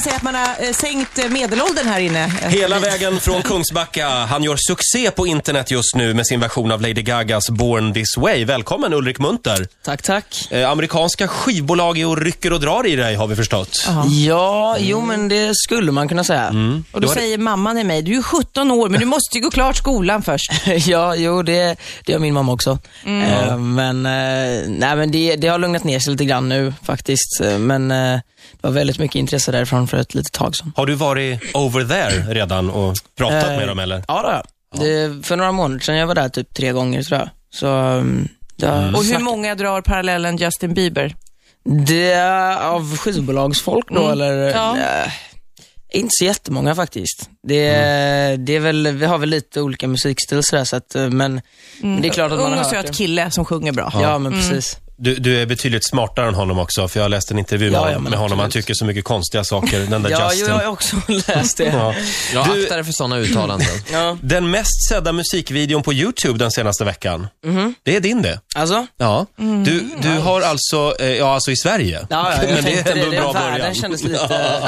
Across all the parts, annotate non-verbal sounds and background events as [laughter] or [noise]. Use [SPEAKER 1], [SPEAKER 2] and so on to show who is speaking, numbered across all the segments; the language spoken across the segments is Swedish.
[SPEAKER 1] säga att man har eh, sänkt eh, medelåldern här inne.
[SPEAKER 2] Hela vägen från Kungsbacka. Han gör succé på internet just nu med sin version av Lady Gagas Born This Way. Välkommen Ulrik Munter.
[SPEAKER 3] Tack, tack.
[SPEAKER 2] Eh, amerikanska skivbolag är och rycker och drar i dig har vi förstått.
[SPEAKER 1] Ja. Mm.
[SPEAKER 3] Ja, jo men det skulle man kunna säga.
[SPEAKER 1] Och då
[SPEAKER 2] Då är det-
[SPEAKER 1] säger mamman i mig, du är ju 17 år men du måste ju gå klart skolan först.
[SPEAKER 3] [laughs] ja, jo det, det gör min mamma också.
[SPEAKER 1] Mm.
[SPEAKER 3] Eh, men eh, nej, men det, det har lugnat ner sig lite grann nu faktiskt. Eh, Men eh, det var väldigt mycket intresse därifrån för ett litet tag sedan.
[SPEAKER 2] Har du varit over there redan och pratat
[SPEAKER 3] Eh,
[SPEAKER 2] med dem eller?
[SPEAKER 3] Ja, då, ja. Det, för några månader sedan, jag var där typ tre gånger tror jag. Så, mm, jag
[SPEAKER 1] Och hur
[SPEAKER 3] snack-
[SPEAKER 1] många drar parallellen Justin Bieber?
[SPEAKER 3] Det är av skivbolagsfolk då eller?
[SPEAKER 1] Ja.
[SPEAKER 3] Nej, inte så jättemånga faktiskt. Det, det är väl, vi har väl lite olika musikstil sådär, så att, eh, men, men det är klart att man
[SPEAKER 1] Ung
[SPEAKER 3] har
[SPEAKER 1] och
[SPEAKER 3] hört det.
[SPEAKER 1] söt kille som sjunger bra.
[SPEAKER 3] Ja, men precis.
[SPEAKER 2] Du, du är betydligt smartare än honom också, för jag läste en intervju
[SPEAKER 3] Ja,
[SPEAKER 2] med-
[SPEAKER 3] ja, men
[SPEAKER 2] med honom. Han
[SPEAKER 3] absolut.
[SPEAKER 2] tycker så mycket konstiga saker, den där
[SPEAKER 3] Ja, jo,
[SPEAKER 2] Justin.
[SPEAKER 3] jag har också [laughs] läst det.
[SPEAKER 2] Ja.
[SPEAKER 4] Jag
[SPEAKER 2] Du-
[SPEAKER 4] aktar för sådana uttalanden.
[SPEAKER 3] Ja.
[SPEAKER 2] Den mest sedda musikvideon på YouTube den senaste veckan,
[SPEAKER 3] Mhm.
[SPEAKER 2] det är din det.
[SPEAKER 3] Alltså?
[SPEAKER 2] Ja. Du, du har alltså, eh, ja alltså i Sverige.
[SPEAKER 3] Ja, ja, jag
[SPEAKER 2] Men det
[SPEAKER 3] tänkte
[SPEAKER 2] är ändå en bra
[SPEAKER 3] Världen
[SPEAKER 2] början.
[SPEAKER 3] kändes lite...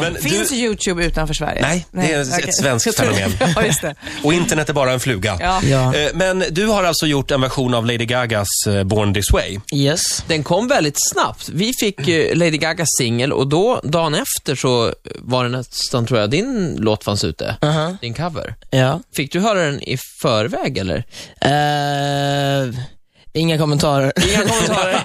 [SPEAKER 2] Men
[SPEAKER 1] Finns
[SPEAKER 2] du,
[SPEAKER 1] YouTube utanför Sverige?
[SPEAKER 2] Nej, det är
[SPEAKER 1] okej.
[SPEAKER 2] ett svenskt fenomen.
[SPEAKER 1] [laughs] ja, just det.
[SPEAKER 2] och internet är bara en fluga.
[SPEAKER 1] Ja.
[SPEAKER 3] Ja.
[SPEAKER 2] Eh, Men du har alltså gjort en version av Lady Gagas eh, Born This Way.
[SPEAKER 3] Yes.
[SPEAKER 4] [laughs] Den kom väldigt snabbt. Vi fick eh, Lady Gagas singel och då, dagen efter så var det nästan, tror jag, din låt fanns ute.
[SPEAKER 3] Aha.
[SPEAKER 4] Din cover.
[SPEAKER 3] Ja.
[SPEAKER 4] Fick du höra den i förväg eller?
[SPEAKER 3] Eh, inga kommentarer.
[SPEAKER 4] Inga kommentarer.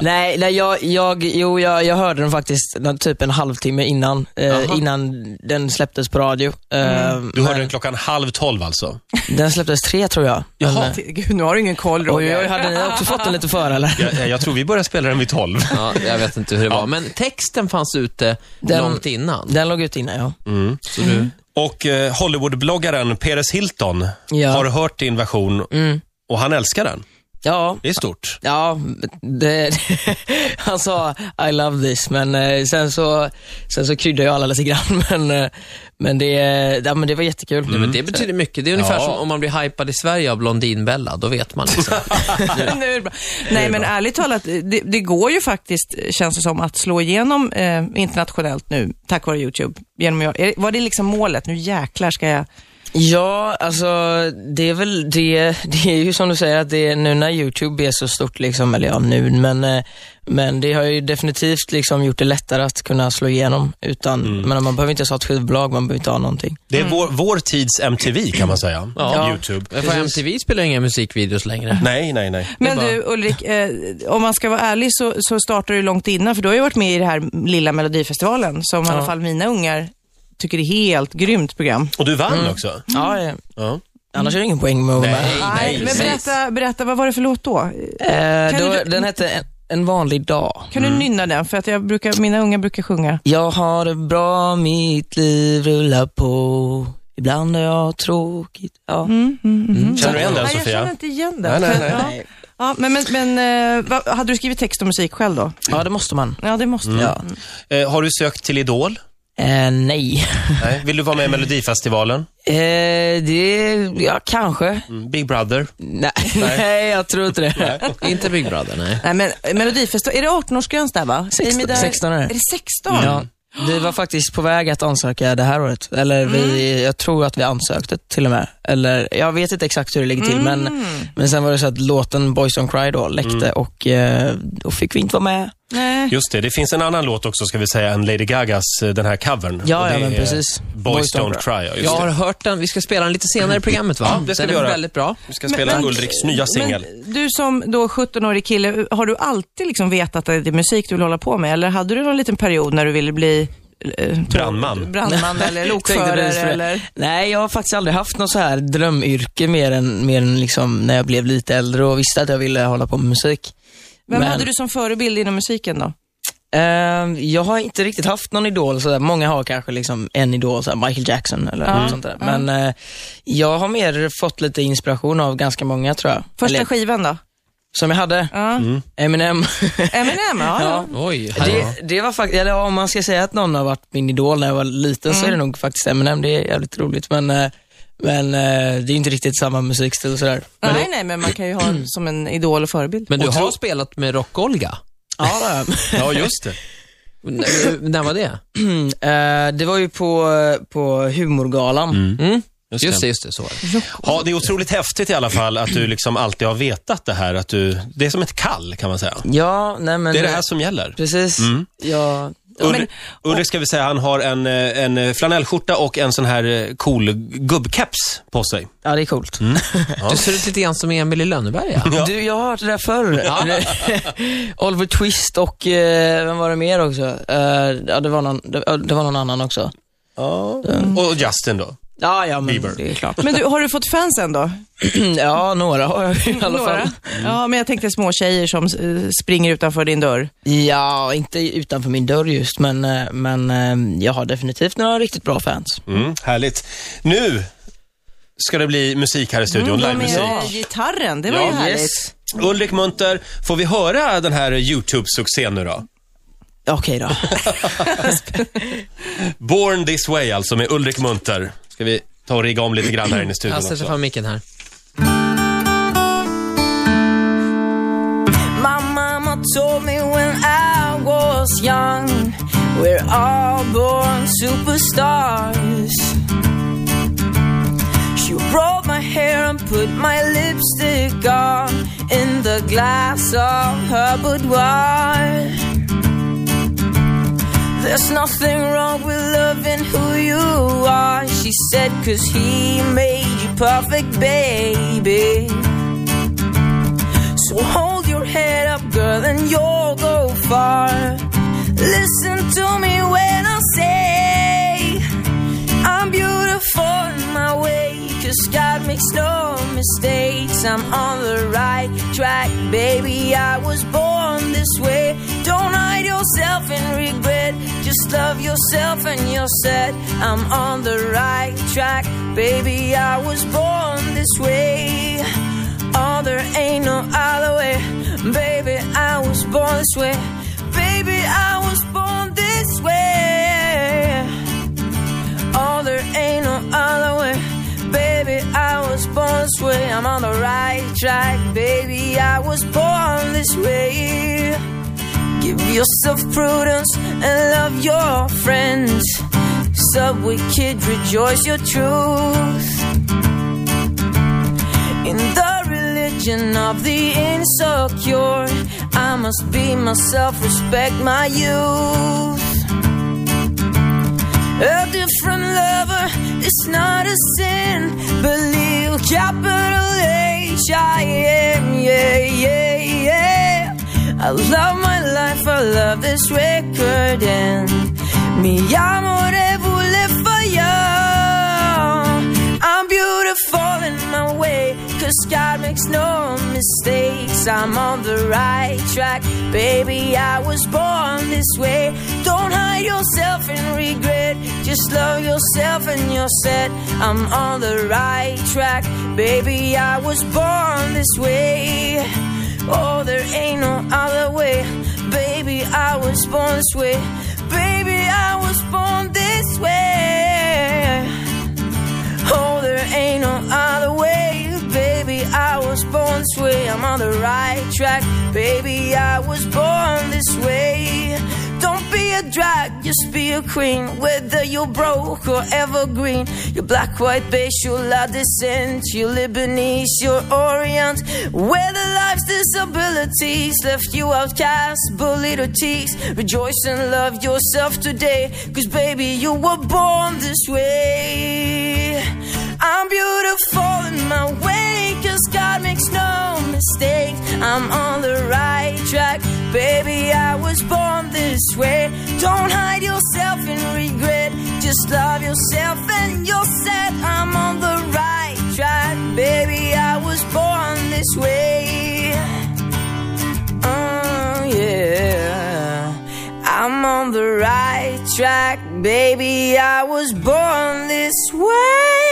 [SPEAKER 3] [laughs] nej, nej jag, jag, jo, jag, jag hörde den faktiskt nå- typ en halvtimme innan, eh,
[SPEAKER 4] Aha. Mm.
[SPEAKER 3] innan den släpptes på radio. Eh,
[SPEAKER 2] Du hörde
[SPEAKER 3] men
[SPEAKER 2] den klockan halv tolv alltså.
[SPEAKER 3] den släpptes tre tror jag. eh,
[SPEAKER 2] Jaha.
[SPEAKER 1] Gud, nu har du ingen koll
[SPEAKER 3] Oj,
[SPEAKER 1] Roger.
[SPEAKER 3] oj, oj, hade ni också fått den lite före eller?
[SPEAKER 2] Jag, eh, jag- jag tror vi börjar spela den vid [laughs] tolv.
[SPEAKER 4] ja, jag vet inte hur det var, men texten fanns ute
[SPEAKER 3] Den-
[SPEAKER 4] långt innan.
[SPEAKER 3] Den låg ut innan ja.
[SPEAKER 4] Mm. Så du,
[SPEAKER 2] Och eh, Hollywoodbloggaren Peres Hilton
[SPEAKER 3] Ja.
[SPEAKER 2] har hört din version och han älskar den.
[SPEAKER 3] Ja,
[SPEAKER 2] Det är stort.
[SPEAKER 3] Ja, det, [laughs] han sa I love this, men eh, sen så, sen så kryddade jag alla lite grann. [laughs] Men, eh, men, det, ja, men det var jättekul.
[SPEAKER 4] men det betyder mycket. Det är ungefär
[SPEAKER 2] Mm. Ja.
[SPEAKER 4] som om man blir hypad i Sverige av Blondinbella, då vet man
[SPEAKER 2] [laughs]
[SPEAKER 4] liksom.
[SPEAKER 1] [laughs] Nu är det bra. Nej, men ärligt talat, det, det går ju faktiskt, känns det som, att slå igenom eh, internationellt nu, tack vare YouTube. Genom, att göra- är- var det liksom målet? Nu jäklar ska jag...
[SPEAKER 3] Ja, alltså det är väl det, det är ju som du säger att det är nu när YouTube är så stort liksom, eller ja nu, men, eh, men det har ju definitivt liksom gjort det lättare att kunna slå igenom utan,
[SPEAKER 1] Mm.
[SPEAKER 3] men man behöver inte ens ha ett skivbolag, man behöver inte ha någonting.
[SPEAKER 2] Det är vår, vår tids MTV kan man säga.
[SPEAKER 4] Ja.
[SPEAKER 2] Youtube.
[SPEAKER 4] För MTV spelar inga musikvideos längre.
[SPEAKER 2] Nej, nej, nej.
[SPEAKER 1] Men
[SPEAKER 4] bara-
[SPEAKER 1] du Ulrik, eh, om man ska vara ärlig så, så startar du långt innan, för du har ju varit med i det här lilla Melodifestivalen, som i alla fall mina ungar tycker är helt grymt program.
[SPEAKER 2] Och du vann också.
[SPEAKER 3] Ja, eh,
[SPEAKER 2] Ja.
[SPEAKER 3] annars är det ingen poäng med att vara med.
[SPEAKER 1] Mm. Nej, men berätta, berätta, vad var det för låt då?
[SPEAKER 3] Eh,
[SPEAKER 1] Kan
[SPEAKER 3] då,
[SPEAKER 1] du-
[SPEAKER 3] Den hette en, en vanlig dag.
[SPEAKER 1] Kan
[SPEAKER 2] Mm.
[SPEAKER 1] du nynna den? För att jag brukar, mina ungar brukar sjunga.
[SPEAKER 3] Jag har det bra, mitt liv rullar på. Ibland har jag tråkigt. Ja.
[SPEAKER 1] Mm.
[SPEAKER 2] Känner du igen den
[SPEAKER 1] Nej, jag känner
[SPEAKER 2] Sofia?
[SPEAKER 1] inte igen den.
[SPEAKER 2] Nej, nej,
[SPEAKER 1] För- Ja. Ja, men men, men eh, vad, hade du skrivit text och musik själv då?
[SPEAKER 3] ja, det måste man.
[SPEAKER 1] Ja, det måste
[SPEAKER 3] Ja.
[SPEAKER 2] Eh, har du sökt till Idol?
[SPEAKER 3] Eh, nej. [laughs]
[SPEAKER 2] Nej. Vill du vara med i Melodifestivalen?
[SPEAKER 3] Eh, det, ja kanske.
[SPEAKER 2] Mm. Big Brother?
[SPEAKER 3] Nej, [laughs] nej jag tror inte det.
[SPEAKER 4] Inte Big Brother, nej.
[SPEAKER 1] Nej, men eh, Melodifestivalen, är det 18-årsgräns där va? Säg mig där-
[SPEAKER 3] 16 är
[SPEAKER 1] Är
[SPEAKER 3] det.
[SPEAKER 1] det 16?
[SPEAKER 3] Ja. Vi var faktiskt på väg att ansöka det här året. Eller vi,
[SPEAKER 1] Mm.
[SPEAKER 3] jag tror att vi ansökte till och med. Eller, jag vet inte exakt hur det ligger till
[SPEAKER 1] Mm.
[SPEAKER 3] men, men sen var det så att låten Boys Don't Cry då läckte och eh, då fick vi inte vara med.
[SPEAKER 1] Nej.
[SPEAKER 2] Just det, det finns en annan låt också ska vi säga än Lady Gagas, eh, den här covern.
[SPEAKER 3] Ja,
[SPEAKER 2] Och det
[SPEAKER 3] ja, men
[SPEAKER 2] är
[SPEAKER 3] precis.
[SPEAKER 2] Boys Don't Cry, ja, just
[SPEAKER 4] Jag har
[SPEAKER 2] det.
[SPEAKER 4] hört den, vi ska spela den lite senare i programmet va?
[SPEAKER 2] Ja, det ska
[SPEAKER 4] den
[SPEAKER 2] vi
[SPEAKER 4] är
[SPEAKER 2] göra.
[SPEAKER 4] väldigt bra.
[SPEAKER 2] Vi ska spela
[SPEAKER 1] Men-
[SPEAKER 2] Ulriks nya singel.
[SPEAKER 1] Men du som då 17-årig kille, har du alltid liksom vetat att det är musik du vill hålla på med? Eller hade du någon liten period när du ville bli eh,
[SPEAKER 3] [laughs]
[SPEAKER 2] Brandman.
[SPEAKER 1] brandman eller
[SPEAKER 3] Tänkte precis på
[SPEAKER 1] lokförare?
[SPEAKER 3] det.
[SPEAKER 1] eller?
[SPEAKER 3] Nej, jag har faktiskt aldrig haft något så här drömyrke mer än, mer än liksom när jag blev lite äldre och visste att jag ville hålla på med musik.
[SPEAKER 1] Vem
[SPEAKER 3] Men-
[SPEAKER 1] hade du som förebild inom musiken då?
[SPEAKER 3] Eh, jag har inte riktigt haft någon idol, sådär. många har kanske liksom en idol, sådär Michael Jackson eller något sånt där. Men eh, jag har mer fått lite inspiration av ganska många tror jag.
[SPEAKER 1] Första
[SPEAKER 3] eller, Mm.
[SPEAKER 1] skivan då?
[SPEAKER 3] som jag hade,
[SPEAKER 1] Ja. Mm.
[SPEAKER 3] Eminem.
[SPEAKER 1] Eminem, ja. ja.
[SPEAKER 4] Oj,
[SPEAKER 3] Det, det var faktiskt, eller ja, om man ska säga att någon har varit min idol när jag var liten så är
[SPEAKER 1] Mm.
[SPEAKER 3] det nog faktiskt Eminem, det är jävligt roligt men, eh, men eh, det är inte riktigt samma musikstil och sådär. Men
[SPEAKER 1] nej, nej, men man kan ju ha som en idol och förebild.
[SPEAKER 4] Men du
[SPEAKER 2] Och
[SPEAKER 4] har
[SPEAKER 2] tro-
[SPEAKER 4] spelat med Rock-Olga?
[SPEAKER 3] Ja, det har jag.
[SPEAKER 2] Ja, just det.
[SPEAKER 4] N- eh, när var det?
[SPEAKER 3] Eh, det var ju på, på humorgalan.
[SPEAKER 2] Mm. Just
[SPEAKER 4] Just
[SPEAKER 2] det.
[SPEAKER 4] det, just det. Så var det.
[SPEAKER 2] Ja, det är otroligt häftigt i alla fall att du liksom alltid har vetat det här. Att du, det är som ett kall kan man säga.
[SPEAKER 3] Ja, nej men...
[SPEAKER 2] Det är det här som Mm. gäller.
[SPEAKER 3] Precis. Ja,
[SPEAKER 2] Ulrik, Ulrik ska vi säga, han har en, eh, en flanellskjorta och en sån här eh, cool gubbkeps på sig.
[SPEAKER 3] ja, det är coolt.
[SPEAKER 2] Mm.
[SPEAKER 4] Du ser ut lite grann som Emil
[SPEAKER 2] [laughs]
[SPEAKER 4] i Lönneberga.
[SPEAKER 2] Ja.
[SPEAKER 3] Du, jag har hört det där förr. [laughs] Oliver Twist och, eh, vem var det mer också? Eh, ja, det var, någon, det, ja, det var någon annan också.
[SPEAKER 2] Och Justin då.
[SPEAKER 3] Ja, ja, men
[SPEAKER 2] Bieber.
[SPEAKER 3] det [clears throat] är klart.
[SPEAKER 5] Men du, har du fått fans än då?
[SPEAKER 3] ja, några har jag i alla fall. Mm.
[SPEAKER 5] Några? Ja, men jag tänkte små tjejer som eh, springer utanför din dörr.
[SPEAKER 3] Ja, inte utanför min dörr just, men, eh, men eh, jag har definitivt några riktigt bra fans.
[SPEAKER 2] Mm, härligt. Nu ska det bli musik här i
[SPEAKER 1] Mm,
[SPEAKER 2] studion, livemusik.
[SPEAKER 5] med gitarren, det var
[SPEAKER 2] Ja,
[SPEAKER 5] ju härligt.
[SPEAKER 3] yes.
[SPEAKER 2] Ulrik Munter, får vi höra den här YouTube-succén nu då?
[SPEAKER 3] Okej då.
[SPEAKER 2] Born this way alltså med Ulrik Munter. Ska vi ta och rigga om lite grann här inne i studion
[SPEAKER 4] Jag sätter
[SPEAKER 2] också.
[SPEAKER 4] fram micken här.
[SPEAKER 1] My mama told me when I was young, we're all born superstars. She rolled my hair and put my lipstick on in the glass of her boudoir. There's nothing wrong with loving who you are, she said, cause he made you perfect, baby. So hold your head up, girl, and you'll go far. Listen to me when I say I'm beautiful in my way. Cause God makes no mistakes. I'm on the right track, baby. I was born this way. Don't hide yourself in regret. Just love yourself and you're set. I'm on the right track, baby. I was born this way. Oh, there ain't no other way. Baby, I was born this way. Baby, I was born this way. Oh, there ain't no other way. Baby, I was born this way. I'm on the right track. Baby, I was born this way. Give yourself prudence and love your friends. Subway kid, rejoice your truth in the religion of the insecure. I must be myself, respect my youth. A different lover is not a sin. Believe capital H I M, yeah, yeah, yeah. I love my life, I love this record, and me amore vuole fallar. I'm beautiful in my way, cause God makes no mistakes. I'm on the right track, baby. I was born this way. Don't hide yourself in regret, just love yourself and you're set. I'm on the right track, baby. I was born this way. Oh, there ain't no other way, baby. I was born this way, baby. I was born this way. Oh, there ain't no other way, baby. I was born this way. I'm on the right track, baby. I was born this way. Don't be a drag, just be a queen. Whether you're broke or evergreen, you're black, white, beige, you're La descent, you're Lebanese, you're Orient. Whether life's disabilities left you outcast, bullied, or teased, rejoice and love yourself today. Cause baby, you were born this way. I'm beautiful in my way, cause God makes no mistakes. I'm on the right track, baby. I was born this way. Don't hide yourself in regret, just love yourself and you're set. I'm on the right track, baby. I was born this way. Oh, yeah. I'm on the right track, baby. I was born this
[SPEAKER 5] [laughs]
[SPEAKER 1] way.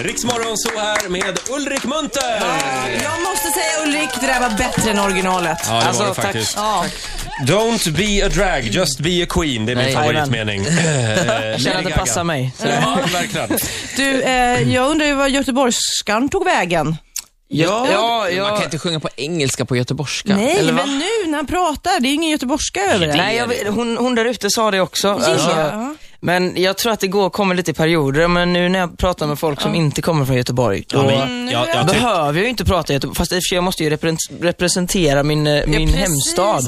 [SPEAKER 2] Riksmorgon så här med Ulrik Munter!
[SPEAKER 5] Jag måste säga Ulrik, det där var bättre än originalet.
[SPEAKER 2] Ja, det
[SPEAKER 4] Alltså,
[SPEAKER 2] var det
[SPEAKER 4] tack.
[SPEAKER 2] faktiskt.
[SPEAKER 5] Ja.
[SPEAKER 2] Don't be a drag, just be a queen. Det är min
[SPEAKER 4] Nej.
[SPEAKER 2] favoritmening. Eh, Jag
[SPEAKER 3] Känner att det passar mig. Så.
[SPEAKER 2] Ja, verkligen.
[SPEAKER 5] Du, eh, jag undrar ju vad göteborgskan tog vägen.
[SPEAKER 3] Ja, ja,
[SPEAKER 4] Man
[SPEAKER 3] ja.
[SPEAKER 4] kan inte sjunga på engelska på göteborgska.
[SPEAKER 5] Nej,
[SPEAKER 4] eller va?
[SPEAKER 5] men nu när han pratar, det är ingen göteborgska över det.
[SPEAKER 3] Nej, jag, vet- hon, hon där ute sa det också. Alltså,
[SPEAKER 5] Ja.
[SPEAKER 3] Men jag tror att det går, kommer lite i perioder, men nu när jag pratar med folk som inte kommer från Göteborg, då
[SPEAKER 2] Ja, men, jag, jag, tyck-
[SPEAKER 3] behöver jag ju inte prata Göteborg. Fast i och för sig, jag måste ju repre- representera min, eh, min
[SPEAKER 5] precis,
[SPEAKER 3] hemstad.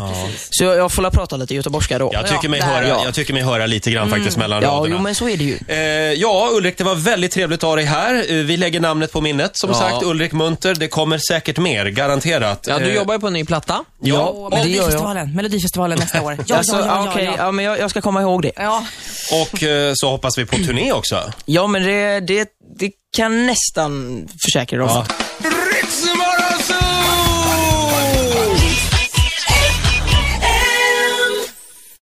[SPEAKER 3] Så jag, jag får la prata lite göteborgska då.
[SPEAKER 2] jag, tycker mig
[SPEAKER 5] Ja, där,
[SPEAKER 2] höra,
[SPEAKER 3] ja.
[SPEAKER 2] jag tycker mig höra lite grann faktiskt mellan
[SPEAKER 3] Ja,
[SPEAKER 2] raderna.
[SPEAKER 3] jo men så är det ju.
[SPEAKER 2] Eh, ja, Ulrik, det var väldigt trevligt att ha dig här. Eh, Vi lägger namnet på minnet, som
[SPEAKER 4] Ja.
[SPEAKER 2] sagt. Ulrik Munter, det kommer säkert mer, garanterat.
[SPEAKER 4] Ja, du
[SPEAKER 2] Eh,
[SPEAKER 4] jobbar ju på en ny platta.
[SPEAKER 2] Ja,
[SPEAKER 5] Åh,
[SPEAKER 3] men det gör jag.
[SPEAKER 5] Melodifestivalen, Melodifestivalen nästa [laughs] år. Ja,
[SPEAKER 3] alltså,
[SPEAKER 5] ja, ja, ja,
[SPEAKER 3] okej,
[SPEAKER 5] ja.
[SPEAKER 3] ja, men jag, jag ska komma ihåg det.
[SPEAKER 5] ja.
[SPEAKER 2] och eh, så hoppas vi på turné också.
[SPEAKER 3] Ja, men det, det, det kan nästan försäkra dem.
[SPEAKER 2] Ja.
[SPEAKER 3] Ja.
[SPEAKER 6] Rå,